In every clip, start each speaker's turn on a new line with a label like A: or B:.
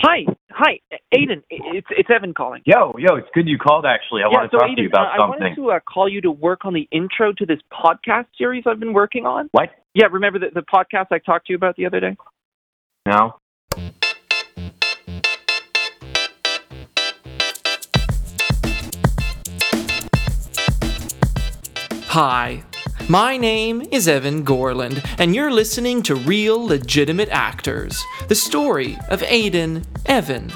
A: Hi, hi, Aiden. It's it's Evan calling.
B: Yo, yo, it's good you called. Actually, I
A: yeah,
B: want to
A: so
B: talk
A: Aiden,
B: to you about
A: uh, I
B: something.
A: wanted to uh, call you to work on the intro to this podcast series I've been working on.
B: What?
A: Yeah, remember the, the podcast I talked to you about the other day?
B: No.
C: Hi, my name is Evan Gorland, and you're listening to Real Legitimate Actors the story of Aiden, Evan,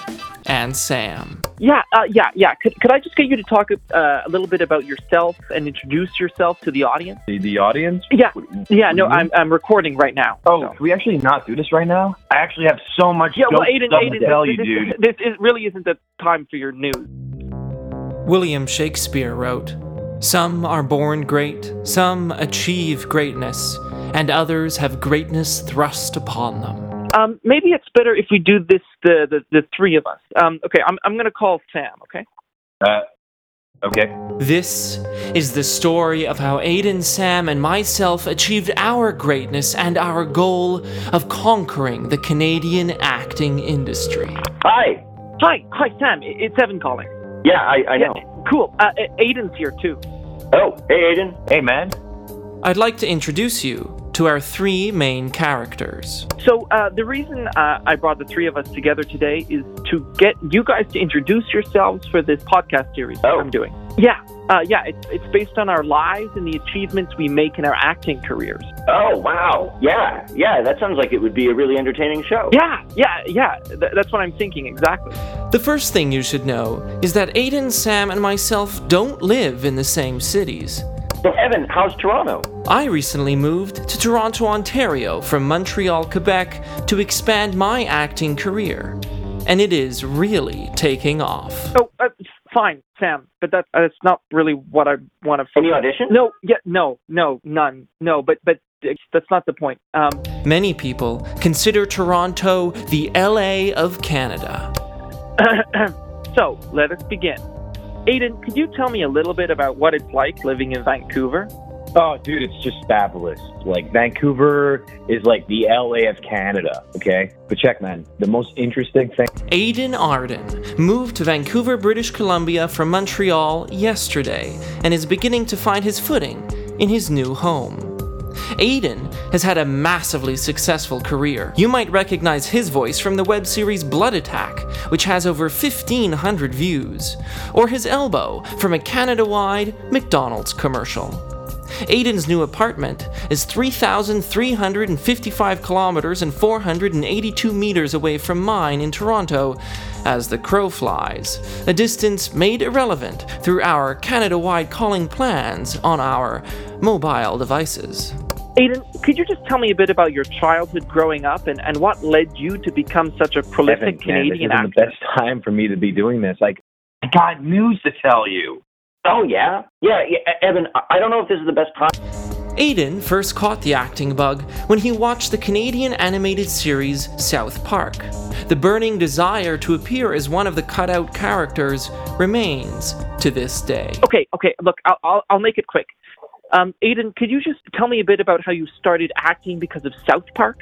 C: and Sam.
A: Yeah, uh, yeah, yeah. Could could I just get you to talk uh, a little bit about yourself and introduce yourself to the audience?
B: The, the audience?
A: Yeah,
B: What-
A: yeah. No,
B: Mhm.
A: I'm I'm recording right now.
B: Oh,
A: so.
B: can we actually not do this right now? I actually have so much
A: Yeah, well,
B: dope
A: Aiden,
B: stuff
A: Aiden,
B: to tell
A: this,
B: you, dude.
A: this, this is, really isn't the time for your news.
C: William Shakespeare wrote Some are born great, some achieve greatness, and others have greatness thrust upon them.
A: Um, maybe it's better if we do this the the, the three of us. Um, okay, I'm I'm gonna call Sam. Okay.
B: Uh, okay.
C: This is the story of how Aiden, Sam, and myself achieved our greatness and our goal of conquering the Canadian acting industry.
D: Hi.
A: Hi, hi, Sam. I- It's Evan calling.
D: Yeah, I, I know.
A: Cool. Uh, A- Aiden's here too.
D: Oh, hey, Aiden.
B: Hey, man.
C: I'd like to introduce you to our three main characters.
A: So uh, the reason uh, I brought the three of us together today is to get you guys to introduce yourselves for this podcast series that
D: Oh.
A: I'm doing. Yeah, uh, yeah. It's it's based on our lives and the achievements we make in our acting careers.
D: Oh, wow. Yeah, yeah, that sounds like it would be a really entertaining show.
A: Yeah, yeah, yeah. Th- that's what I'm thinking exactly.
C: The first thing you should know is that Aiden, Sam, and myself don't live in the same cities.
D: So, Evan, how's Toronto?
C: I recently moved to Toronto, Ontario from Montreal, Quebec to expand my acting career, and it is really taking off.
A: Oh, uh, fine, Sam. But that uh, that's not really what I want to.
D: Any audition?
A: No, yeah, no, no, none, no. But but uh, that's not the point. Um,
C: Many people consider Toronto the LA of Canada.
A: so let us begin. Aiden, could you tell me a little bit about what it's like living in Vancouver?
B: Oh, dude, it's just fabulous. Like, Vancouver is like the LA of Canada, okay? But check, man, the most interesting thing.
C: Aiden Arden moved to Vancouver, British Columbia from Montreal yesterday and is beginning to find his footing in his new home. Aiden has had a massively successful career. You might recognize his voice from the web series Blood Attack, which has over 1,500 views, or his elbow from a Canada wide McDonald's commercial. Aiden's new apartment is 3,355 kilometers and 482 meters away from mine in Toronto as the crow flies, a distance made irrelevant through our Canada wide calling plans on our mobile devices.
A: Aiden, could you just tell me a bit about your childhood growing up and, and what led you to become such a prolific
B: Evan, man, this
A: Canadian
B: isn't the
A: actor?
B: best time for me to be doing this. Like, I got news to tell you.
D: Oh, yeah? Yeah, yeah E- Evan, I- I don't know if this is the best time.
C: Aiden first caught the acting bug when he watched the Canadian animated series South Park. The burning desire to appear as one of the cutout characters remains to this day.
A: Okay, okay, look, I'll, I'll, I'll make it quick. Um, Aiden, could you just tell me a bit about how you started acting because of South Park?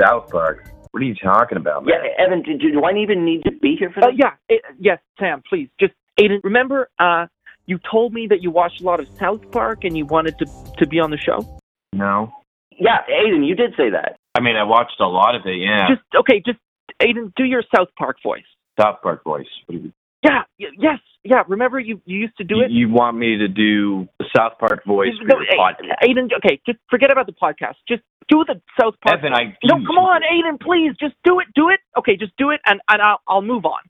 B: South Park. What are you talking about, man?
D: Yeah, Evan, do, do do I even need to be here for
A: Uh,
D: this?
A: yeah, it, yes, Sam, please. Just, Aiden, remember uh, you told me that you watched a lot of South Park and you wanted to, to be on the show?
B: No.
D: Yeah, Aiden, you did say that.
B: I mean, I watched a lot of it, yeah.
A: Just, okay, just, Aiden, do your South Park voice.
B: South Park voice. What do you-
A: Yeah, y- yes, yeah. Remember you, you used to do
B: you,
A: it?
B: you want me to do the South Park voice for
A: No,
B: your
A: A-
B: podcast?
A: Aiden, okay, just forget about the podcast. Just do the South Park.
B: Evan, I
A: no, come on, Aiden, please, just do it, do it. Okay, just do it, and, and I'll, I'll move on.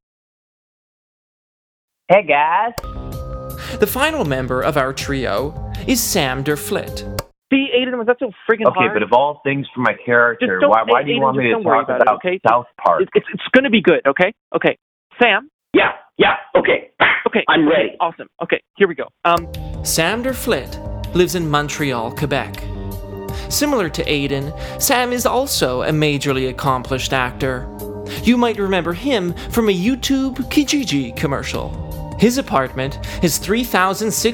B: Hey guys.
C: The final member of our trio is Sam Derflit.
A: See, Aiden, was that so friggin'
B: Okay,
A: hard?
B: but of all things for my character,
A: Just don't-
B: why why do
A: Aiden,
B: you want me
A: just
B: to
A: don't worry
B: talk
A: about it, okay?
B: South Park?
A: It- it's, it's gonna be good, okay? Okay, Sam.
D: Yeah, yeah, okay.
A: Okay, Uh,
D: I'm
A: okay,
D: ready.
A: Awesome. Okay, here we go. Um,
C: Sam Derflit lives in Montreal, Quebec. Similar to Aiden, Sam is also a majorly accomplished actor. You might remember him from a YouTube Kijiji commercial. His apartment is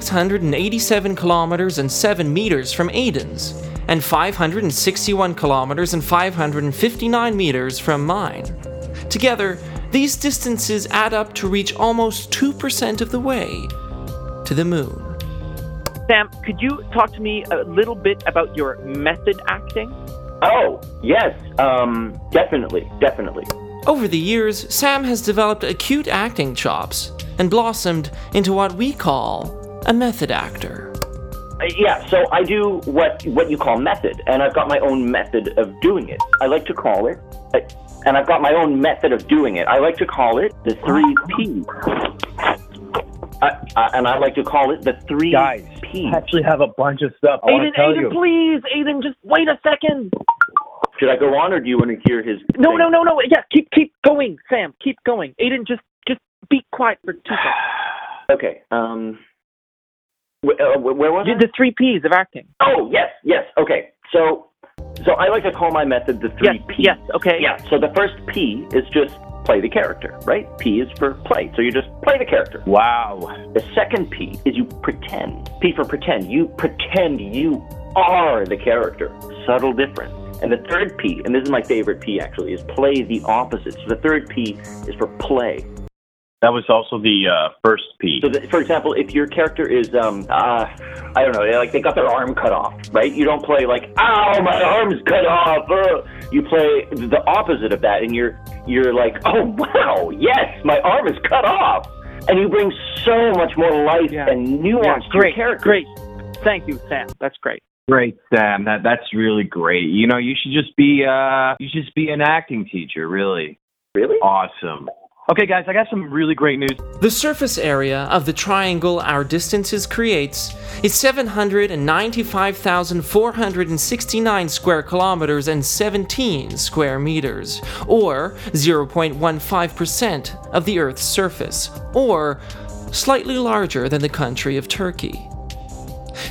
C: 3,687 kilometers and 7 meters from Aiden's, and 561 kilometers and 559 meters from mine. Together, These distances add up to reach almost 2% of the way to the moon.
A: Sam, could you talk to me a little bit about your method acting?
D: Oh, yes, um, definitely, definitely.
C: Over the years, Sam has developed acute acting chops and blossomed into what we call a method actor.
D: Uh, Yeah, so I do what what you call method, and I've got my own method of doing it. I like to call it, uh, and I've got my own method of doing it. I like to call it the three P. I, I, and I like to call it the three
B: Guys,
D: P.
B: I actually have a bunch of stuff I want
A: Aiden,
B: to tell
A: Aiden,
B: you.
A: please, Aiden, just wait a second.
D: Should I go on, or do you want to hear his?
A: No,
D: thing?
A: no, no, no. Yeah, keep keep going, Sam. Keep going. Aiden, just just be quiet for two seconds.
D: Okay. Um. Wh- uh, wh- where was
A: You
D: I?
A: did the three P's of acting.
D: Oh yes, yes. Okay. So, so I like to call my method the
A: Yes,
D: three P.
A: yes, okay.
D: Yeah. So the first P is just play the character, right? P is for play. So you just play the character.
B: Wow.
D: The second P is you pretend. P for pretend. You pretend you are the character. Subtle difference. And the third P, and this is my favorite P actually, is play the opposite. So the third P is for play.
B: That was also the uh, first P.
D: So, that, for example, if your character is, um, uh, I don't know, like they got their arm cut off, right? You don't play like, "Ow, my arm's cut off." Uh. You play the opposite of that, and you're you're like, "Oh wow, yes, my arm is cut off," and you bring so much more life
A: Yeah.
D: and nuance to your
A: great,
D: character.
A: great. Thank you, Sam. That's great.
B: Great, Sam. That that's really great. You know, you should just be uh you should just be an acting teacher, really.
D: Really?
B: Awesome. Okay guys, I got some really great news.
C: The surface area of the triangle our distances creates is 795,469 square kilometers and 17 square meters, or 0.15% of the Earth's surface, or slightly larger than the country of Turkey.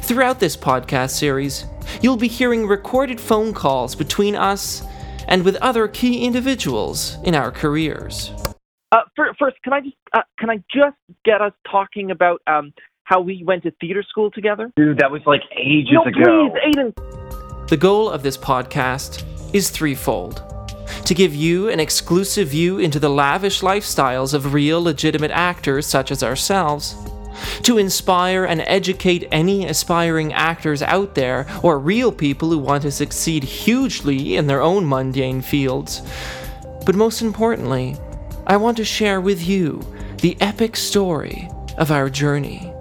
C: Throughout this podcast series, you'll be hearing recorded phone calls between us and with other key individuals in our careers.
A: Uh, fir- first, can I just uh, can I just get us talking about um, how we went to theater school together?
B: Dude, that was like ages
A: no,
B: ago.
A: please, Aiden.
C: The goal of this podcast is threefold to give you an exclusive view into the lavish lifestyles of real, legitimate actors such as ourselves, to inspire and educate any aspiring actors out there or real people who want to succeed hugely in their own mundane fields, but most importantly, I want to share with you the epic story of our journey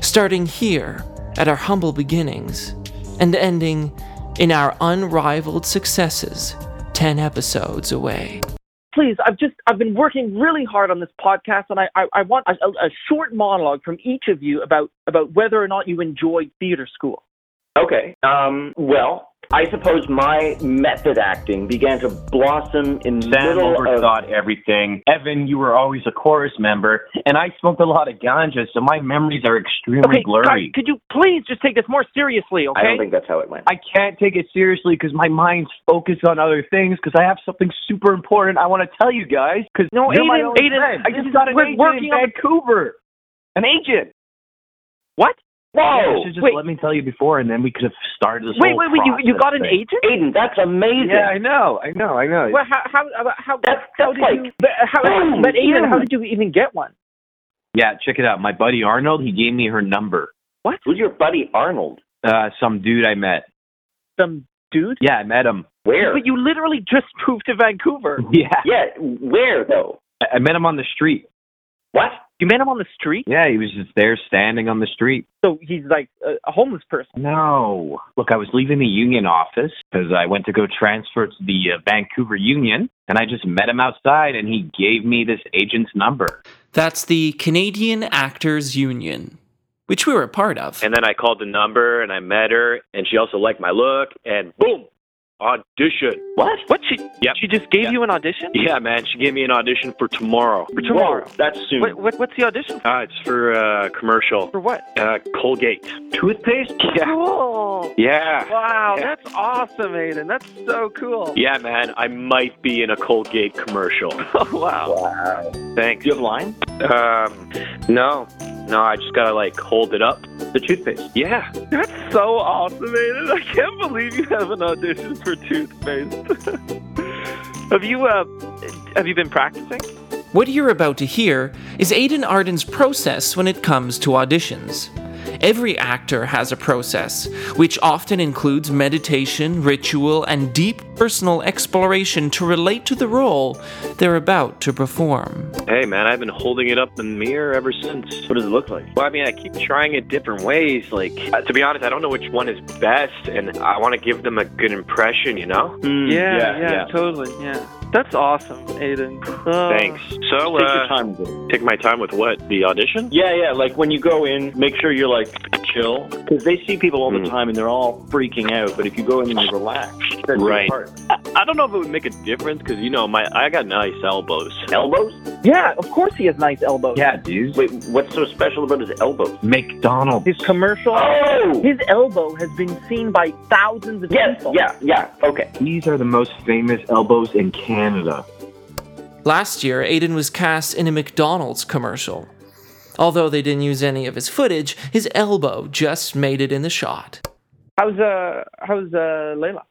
C: starting here at our humble beginnings and ending in our unrivaled successes 10 episodes away.
A: please i've just i've been working really hard on this podcast and i i, I want a, a a short monologue from each of you about about whether or not you enjoyed theater school
D: Okay. Um, well, I suppose my method acting began to blossom in the
B: Sam
D: middle of.
B: overthought everything. Evan, you were always a chorus member, and I smoked a lot of ganja, so my memories are extremely
A: okay guys,
B: blurry.
A: could you please just take this more seriously
D: I don't
A: okay
D: think that's how it went.
B: I can't take it seriously because my mind's focused on other things because I have something super important I want to tell you guys. Because
A: No,
B: you're my
A: Aiden,
B: only
A: Aiden,
B: friend. I
A: this
B: just
A: is-
B: got an
A: we're
B: agent
A: working
B: in
A: on the-
B: Vancouver. An agent.
A: what
B: You
D: Whoa!
B: should just
A: Oh, wait.
B: let me tell you before, and then we could have started this
A: wait
B: whole
A: wait wait you you
B: process
A: got an
B: thing.
A: agent
D: Aiden, that's amazing.
B: Yeah, I know, I know, I know.
A: well, how how how,
D: That's-
A: how did
D: that's
A: you
D: like-
A: but how
D: Boom,
A: but Aiden
D: yeah.
A: how did you even get one
B: yeah, check it out. My buddy Arnold, he gave me her number.
D: Who's your buddy Arnold?
B: Uh, some dude I met.
A: some dude
B: Yeah, I met him.
D: Where?
A: but you literally just moved to Vancouver
B: Yeah,
D: yeah, where though?
B: I- I met him on the street.
D: What?
A: you met him on the street
B: Yeah, he was just there standing on the street.
A: so he's like a, a homeless person
B: No. Look, I was leaving the union office because I went to go transfer to the uh, Vancouver Union, and I just met him outside, and he gave me this agent's number.
C: That's the Canadian Actors Union, which we were a part of.
E: And then I called the number and I met her, and she also liked my look, and boom, audition.
A: what what she
E: Yep.
A: she just gave
E: Yeah.
A: you an audition
E: Yeah, man, she gave me an audition for tomorrow.
A: for tomorrow
D: Whoa, that's soon.
A: What, what, what's the audition
E: Uh, it's for uh, commercial.
A: for? What?
E: Uh, Colgate.
D: Toothpaste?
E: Yeah.
A: Cool.
E: Yeah.
A: Wow,
E: Yeah.
A: that's awesome, Aiden. That's so cool.
E: Yeah, man, I might be in a Colgate commercial.
A: Oh, wow.
D: Wow.
E: Thanks.
D: Do you have line?
E: Um, no. No, I just gotta, like, hold it up.
D: The toothpaste.
E: Yeah.
A: That's so awesome, Aiden. I can't believe you have an audition for Toothpaste. have you uh, have you been practicing?
C: What you're about to hear is Aidan Arden's process when it comes to auditions. Every actor has a process, which often includes meditation, ritual, and deep personal exploration to relate to the role they're about to perform.
B: Hey, man, I've been holding it up in the mirror ever since.
D: What does it look like?
B: Well, I mean, I keep trying it different ways. Like, uh, to be honest, I don't know which one is best, and I want to give them a good impression, you know?
A: Yeah,
D: Hmm, yeah,
A: yeah,
D: yeah.
A: totally. Yeah. That's awesome, Aiden. Uh,
B: Thanks. So,
D: Take your
B: uh,
D: time with it.
B: take my time with what? The audition?
D: Yeah, yeah. Like when you go in, make sure you're like chill because they see people all the
B: Mm.
D: time and they're all freaking out. But if you go in and you relax, that's your
B: Right.
D: part.
B: I don't know if it would make a difference because, you know, my I got nice elbows.
D: Elbows?
F: Yeah, of course he has nice elbows.
G: Yeah, dude.
D: Wait, what's so special about his elbows?
G: McDonald's.
F: His commercial,
D: Oh,
F: his elbow has been seen by thousands of
D: yes,
F: people.
D: yeah, yeah. Okay.
G: These are the most famous elbows in Canada.
C: Last year, Aiden was cast in a McDonald's commercial. Although they didn't use any of his footage, his elbow just made it in the shot.
A: How's uh how's uh Layla?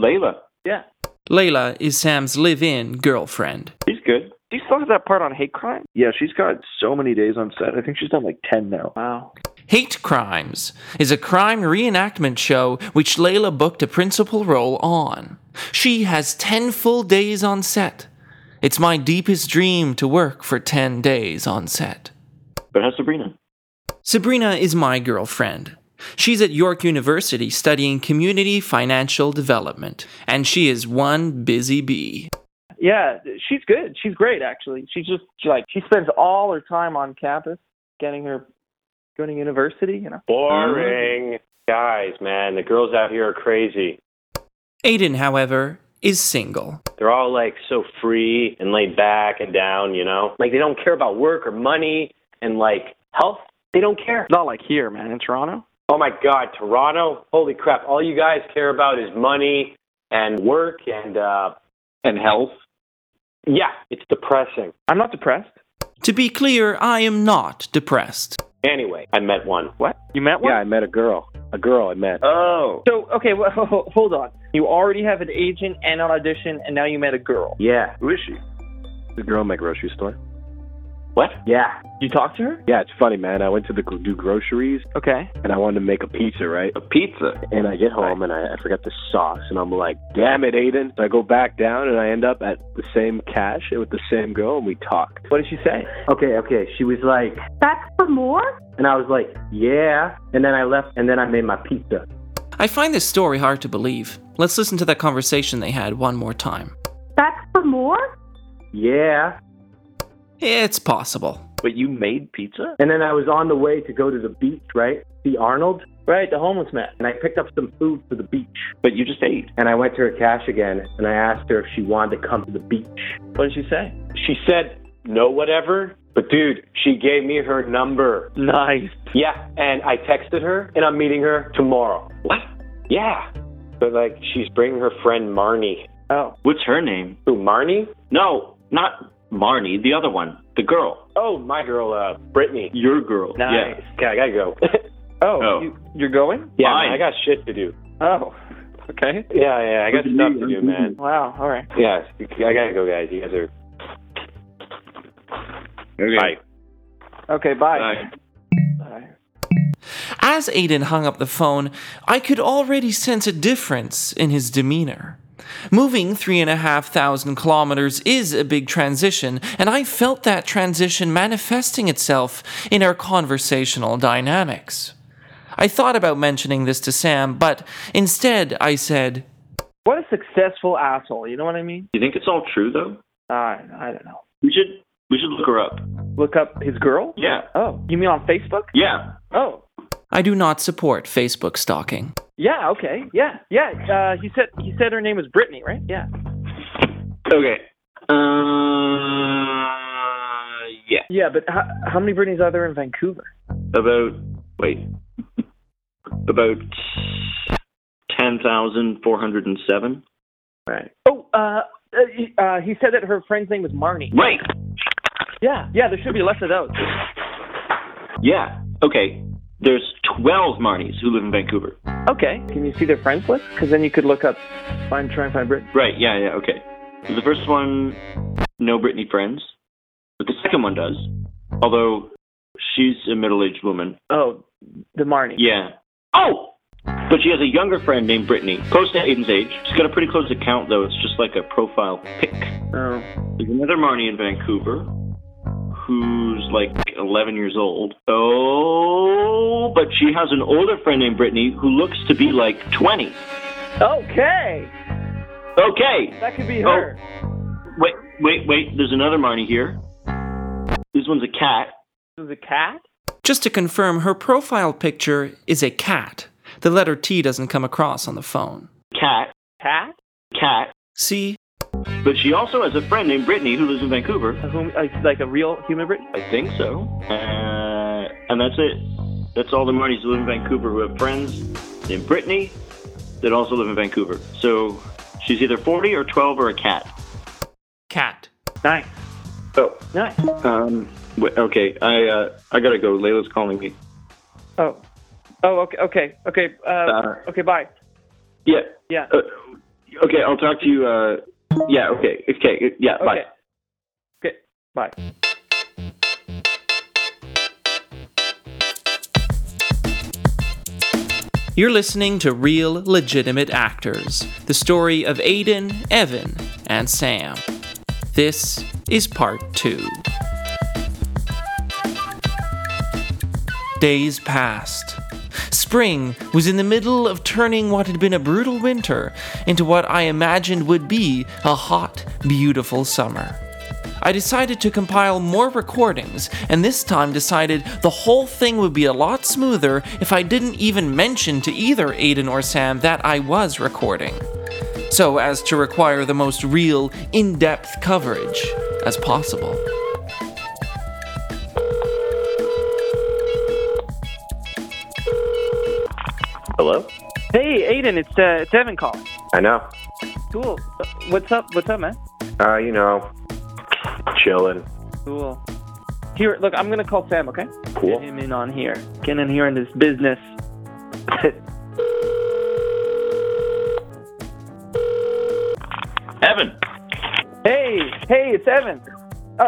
D: Layla,
C: Layla is Sam's live in girlfriend.
D: he's good.
A: Do you still have that part on hate crime?
D: Yeah, she's got so many days on set. I think she's done like ten now.
A: Wow.
C: Hate Crimes is a crime reenactment show which Layla booked a principal role on. She has 10 full days on set. It's my deepest dream to work for 10 days on set.
D: But how's Sabrina?
C: Sabrina is my girlfriend. She's at York University studying community financial development, and she is one busy bee.
A: Yeah, she's good. She's great actually. She's just she, like she spends all her time on campus getting her going to university, you know.
B: Boring. Guys, man, the girls out here are crazy.
C: Aiden, however, is single.
B: They're all like so free and laid back and down, you know? Like they don't care about work or money and like health. They don't care.
A: Not like here, man, in Toronto.
B: Oh my God, Toronto! Holy crap! All you guys care about is money and work and uh,
D: And health.
B: yeah, it's depressing.
A: I'm not depressed.
C: To be clear, I am not depressed.
B: Anyway, I met one.
A: What? You met one?
B: I met a girl. A girl I met.
D: Oh,
A: So okay, well, hold on. You already have an agent and an audition, and now you met a girl.
B: Yeah.
D: who is she?
E: The girl in my grocery store.
B: What?
D: Yeah,
A: You talked to her?
E: Yeah, it's funny, man. I went to the do groceries
A: Okay.
E: and I wanted to make a pizza, right?
D: a pizza.
E: And I get home and I, I forgot the sauce and I'm like, damn it, Aiden. So I go back down and I end up at the same cash and with the same girl and we talked.
A: What did she say?
E: Okay, okay. She was like,
H: That's for more?
E: and I was like, yeah. And then I left and then I made my pizza.
C: I find this story hard to believe. Let's listen to that conversation they had one more time.
H: That's for more?
E: Yeah.
C: It's possible.
D: But you made pizza?
E: And then I was on the way to go to the beach, right? See Arnold.
A: Right, the homeless man.
E: And I picked up some food for the beach.
D: But you just ate.
E: And I went to her cash again and I asked her if she wanted to come to the beach.
A: What did she say?
B: She said no, whatever. But dude, she gave me her number.
A: Nice.
B: Yeah, and I texted her, and I'm meeting her tomorrow. What? Yeah. But like, she's bringing her friend Marnie.
A: Oh.
D: What's her name?
B: Who? Marnie?
D: No, not Marnie. The other one, the girl,
B: Oh, my girl, uh, Brittany.
D: your girl.
A: Nice.
D: Yeah.
B: Okay, I gotta go.
A: Oh,
D: Oh.
A: You, you're going?
B: yeah,
D: Mine.
B: man, I got shit to do.
A: Oh. Okay.
B: Yeah, yeah, I got stuff to do, man.
A: Wow. Oh, All right.
B: Yeah, I gotta go, guys. You guys are. Bye.
A: Okay. Bye.
D: Bye.
A: Bye.
C: As Aiden hung up the phone, I could already sense a difference in his demeanor. Moving three and a half thousand kilometers is a big transition, and I felt that transition manifesting itself in our conversational dynamics. I thought about mentioning this to Sam, but instead I said,
A: What a successful asshole. You know what I mean?
D: You think it's all true though?
A: I Uh, I don't know.
D: We should we should look her up.
A: Look up his girl.
D: Yeah.
A: Oh, you mean on Facebook?
D: Yeah.
A: Oh.
C: I do not support Facebook stalking.
A: Yeah. Okay. Yeah. Yeah. Uh, he said he said her name was Brittany, right? Yeah.
D: Okay. Uh, yeah.
A: Yeah, but how, how many Britneys are there in Vancouver?
D: About wait. About ten thousand four hundred and seven.
A: Right. Oh, uh, uh, he- uh, he said that her friend's name was Marnie.
D: Right.
A: Yeah, yeah, there should be less of those.
D: Yeah. Okay. There's twelve Marnies who live in Vancouver.
A: Okay. Can you see their friends list? Because then you could look up, find, try and find Brit.
D: Right. Yeah. Yeah. Okay. So the first one, no Brittany friends. second one does. Although she's a middle-aged woman.
A: Oh, the Marnie.
D: Yeah. Oh! But she has a younger friend named Brittany, close to Aiden's age. She's got a pretty close account, though. It's just like a profile pic.
A: Oh.
D: There's another Marnie in Vancouver who's like 11 years old. Oh, but she has an older friend named Brittany who looks to be like 20.
A: Okay,
D: Okay,
A: that could be
D: Oh.
A: her.
D: wait, wait, wait. There's another Marnie here. This one's a cat. Oh.
A: This is a cat.
C: Just to confirm, her profile picture is a cat. The letter T doesn't come across on the phone.
D: Cat,
A: Cat.
D: cat.
C: See?
D: But she also has a friend named Brittany who lives in Vancouver.
A: Whom, like, like a real human Brit.
D: I think so. Uh, and that's it. That's all the Marnies who live in Vancouver who have friends in Brittany that also live in Vancouver. So she's either 40 or 12 or a cat.
C: Cat.
A: Nice.
D: Oh,
A: Nice.
D: um, w- okay. I uh, I gotta go. Layla's calling me.
A: Oh. Oh. Okay. Okay. Okay. Uh,
D: Uh,
A: okay. Bye.
D: yeah.
A: Yeah.
D: Uh, okay, I'll talk to you. Uh, yeah. Okay. Okay. Yeah.
A: Okay.
D: Bye.
A: Okay. Bye.
C: You're listening to Real Legitimate Actors, the story of Aiden, Evan, and Sam. This is part two. Days passed. Spring was in the middle of turning what had been a brutal winter into what I imagined would be a hot, beautiful summer. I decided to compile more recordings, and this time decided the whole thing would be a lot smoother if I didn't even mention to either Aiden or Sam that I was recording, so as to require the most real, in depth coverage as possible.
E: Hello?
A: Hey, Aiden. It's uh, it's Evan calling.
E: I know.
A: Cool. What's up? What's up, man?
E: Uh, you know, chilling.
A: Cool. Here, look. I'm gonna call Sam. Okay. Get
E: Cool.
A: him in on here. Get in here in this business.
D: Evan,
A: Hey. Hey. It's Evan. Uh,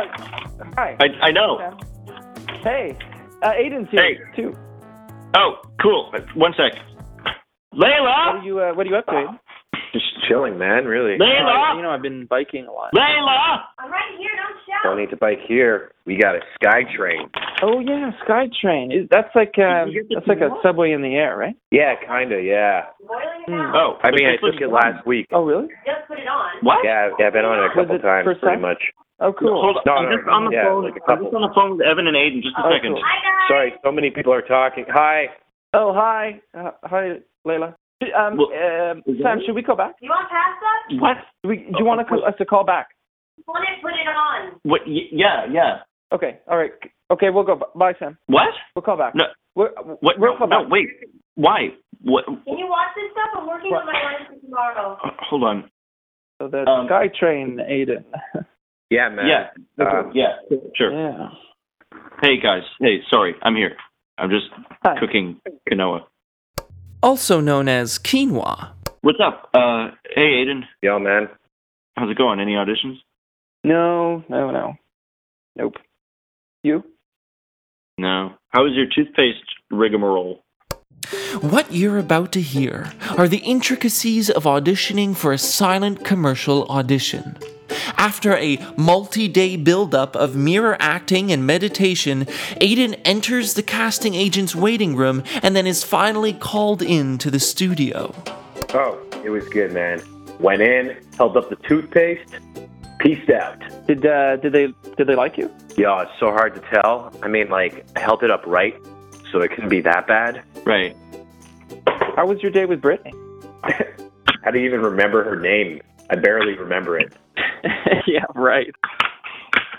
A: hi.
D: I I know.
A: Hey. Uh, Aiden's here
D: Hey.
A: too.
D: Oh, cool. One sec.
A: What are
D: Layla.
A: you uh, What are you up to? Aiden?
E: Just chilling, man, really.
A: Uh, you
D: Layla.
A: know, I've been biking a lot.
D: Layla.
I: I'm right here.
E: Don't
I: Don't shout.
E: need to bike here. We got a sky train.
A: Oh yeah, SkyTrain. Is- That's like um,
D: Did you get the
A: that's like a
D: remote?
A: subway in the air, right?
E: Yeah, kinda, yeah.
I: Boiling it
A: Hmm.
I: out.
D: Oh,
E: I mean, I
D: this was
E: took it
D: one.
E: last week.
A: Oh really?
I: Just put it on.
D: What?
E: Yeah, yeah, I've been on it a
A: Was
E: couple
A: it
E: times,
A: first
E: pretty
A: time?
E: much.
A: Oh cool.
D: Hold on.
E: No,
D: I'm
E: no,
D: just
E: no.
D: on the
E: Yeah,
D: phone.
E: like a
D: I'm
E: couple.
D: just on the phone with Evan and Aiden. Just a
A: Oh,
D: second.
A: cool.
I: Hi guys.
E: Sorry, so many people are talking. Hi.
A: Oh hi, uh, hi Layla. Um,
D: Well,
A: um,
D: is
A: Sam,
D: that-
A: should we call back?
I: You want pasta?
D: What?
A: Do, we, do you want to call, us to call back?
I: Want it? Put it on.
D: What? Y- yeah, yeah.
A: Okay, all right. C- Okay, we'll go. b- Bye, Sam.
D: What?
A: We'll call back.
D: No.
A: We're, uh,
D: What?
A: We'll
D: No,
A: call
D: no,
A: back.
D: wait. Why? What?
I: Can you watch this stuff? I'm working on my lines for tomorrow.
D: Hold on.
A: So the
D: Um,
A: SkyTrain, Aiden.
E: Yeah, man.
D: Yeah.
E: Uh,
D: Yeah. Sure.
A: yeah.
D: Hey guys. Hey, sorry. I'm here. I'm just
A: Hi.
D: cooking quinoa.
C: Also known as quinoa.
D: What's up? Uh, hey Aiden.
E: Yo, man.
D: How's it going? Any auditions?
A: No, no, no. Nope. You?
D: No. How is your toothpaste rigmarole?
C: What you're about to hear are the intricacies of auditioning for a silent commercial audition. After a multi day buildup of mirror acting and meditation, Aiden enters the casting agent's waiting room and then is finally called in to the studio.
E: Oh, it was good, man. Went in, held up the toothpaste, peaced out.
A: Did uh, did they did they like you?
E: Yeah, it's so hard to tell. I mean, like, I held it up right, so it couldn't be that bad.
D: Right.
A: How was your day with Brittany?
E: How do you even remember her name? I barely remember it.
A: yeah, right.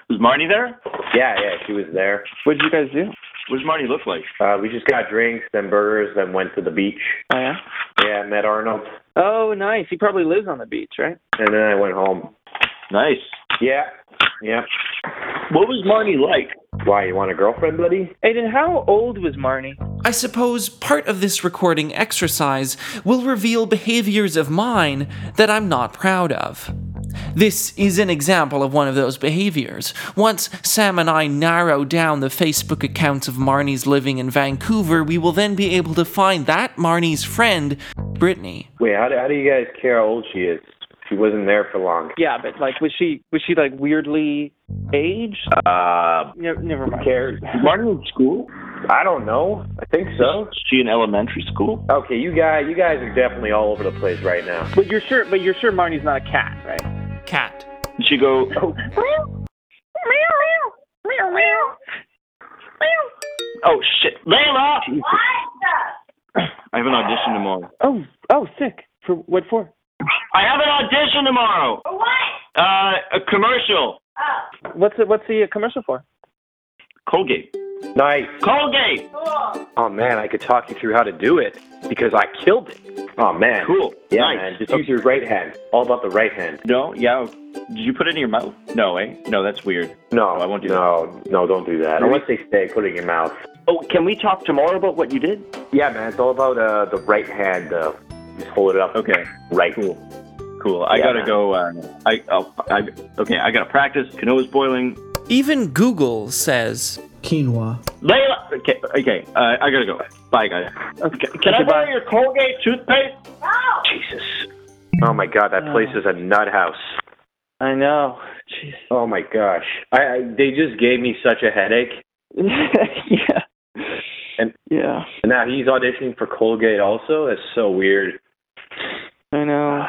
D: Was Marnie there?
E: Yeah, yeah, she was there.
A: What did you guys do?
D: What does Marnie look like?
E: Uh, we just got drinks, then burgers, then went to the beach.
A: Oh yeah.
E: Yeah, met Arnold,
A: Oh, nice. He probably lives on the beach, right?
E: and then I went home.
D: Nice.
E: Yeah, yeah.
D: What was Marnie like?
E: Why, you want a girlfriend, buddy?
A: Aiden, how old was Marnie?
C: I suppose part of this recording exercise will reveal behaviors of mine that I'm not proud of. This is an example of one of those behaviors. Once Sam and I narrow down the Facebook accounts of Marnie's living in Vancouver, we will then be able to find that Marnie's friend, Brittany.
J: Wait, how do, how do you guys care how old she is? She wasn't there for long.
A: Yeah, but like, was she was she like weirdly aged?
J: Uh,
A: Ne- never mind.
J: cares? Martin in school? I don't know. I think so.
D: She in elementary school?
J: Okay, you guys, you guys are definitely all over the place right now.
A: But you're sure, but you're sure Marnie's not a cat, right?
C: Cat.
D: Did she go? Oh shit, Layla!
I: What
D: I have an audition tomorrow.
A: Oh, oh, sick. For what for?
D: I have an audition tomorrow.
I: the? For what?
D: Uh, a commercial.
I: Oh,
A: What's the, what's the uh, commercial for?
D: Colgate.
E: Nice.
D: Colgate.
I: cool.
K: Oh man, I could talk you through how to do it because I killed it.
E: Oh man.
D: Cool.
E: Yeah,
D: nice.
E: man. Just use your right hand. All about the right hand.
D: No, yeah. Did you put it in your mouth? No, eh? No, that's weird.
J: Oh,
E: No,
D: I won't do
E: no, no, don't do that. Unless they stay, put it in your mouth.
J: Oh, can we talk tomorrow about what you did?
E: Yeah, man. It's all about uh, the right hand. Uh, just hold it up.
D: Okay.
E: Right.
D: Cool. Cool. I
E: Yeah,
D: gotta
E: man.
D: go. Uh, I, I'll, I. Okay. I gotta practice. Canoa's boiling.
C: Even Google says,
L: Quinoa.
D: Layla. Okay. Okay. Uh, I gotta go. Bye, guys.
A: Okay.
D: Can I
A: Goodbye.
D: borrow your Colgate toothpaste?
I: No.
E: Jesus. Oh my God, that place is a nut house.
A: I know. Jeez.
E: Oh my gosh. I, I they just gave me such a headache.
A: yeah.
E: And-
A: yeah,
E: And now he's auditioning for Colgate also. That's so weird.
A: I know.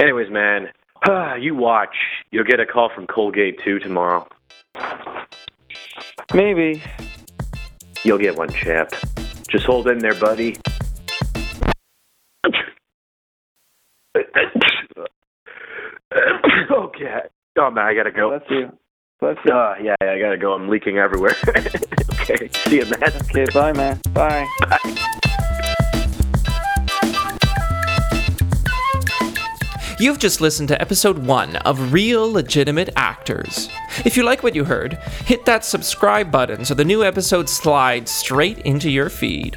E: Anyways, man, you watch. You'll get a call from Colgate too tomorrow.
A: Maybe.
E: You'll get one, champ. Just hold in there, buddy. okay. Oh man, I gotta go.
A: Bless you. Bless you.
E: Uh, yeah, yeah, I gotta go. I'm leaking everywhere. okay. See you, man.
A: Okay, bye, man. Bye.
C: You've just listened to episode one of Real Legitimate Actors. If you like what you heard, hit that subscribe button so the new episode slides straight into your feed.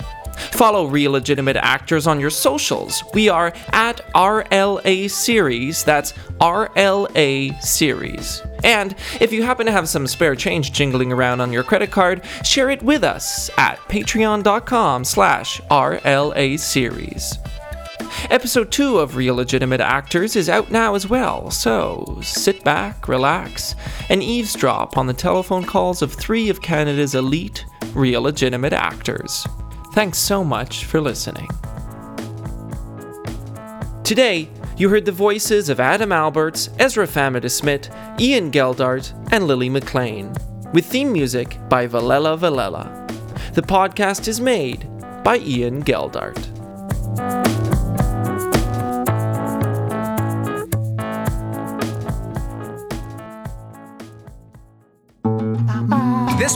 C: Follow Real Legitimate Actors on your socials. We are at RLA Series, that's RLA Series. And if you happen to have some spare change jingling around on your credit card, share it with us at patreon.com slash RLA Series. Episode 2 of Real Legitimate Actors is out now as well, so sit back, relax, and eavesdrop on the telephone calls of three of Canada's elite real legitimate actors. Thanks so much for listening. Today, you heard the voices of Adam Alberts, Ezra Famida Smith, Ian Geldart, and Lily McLean, with theme music by Valella Valella. The podcast is made by Ian Geldart.
M: This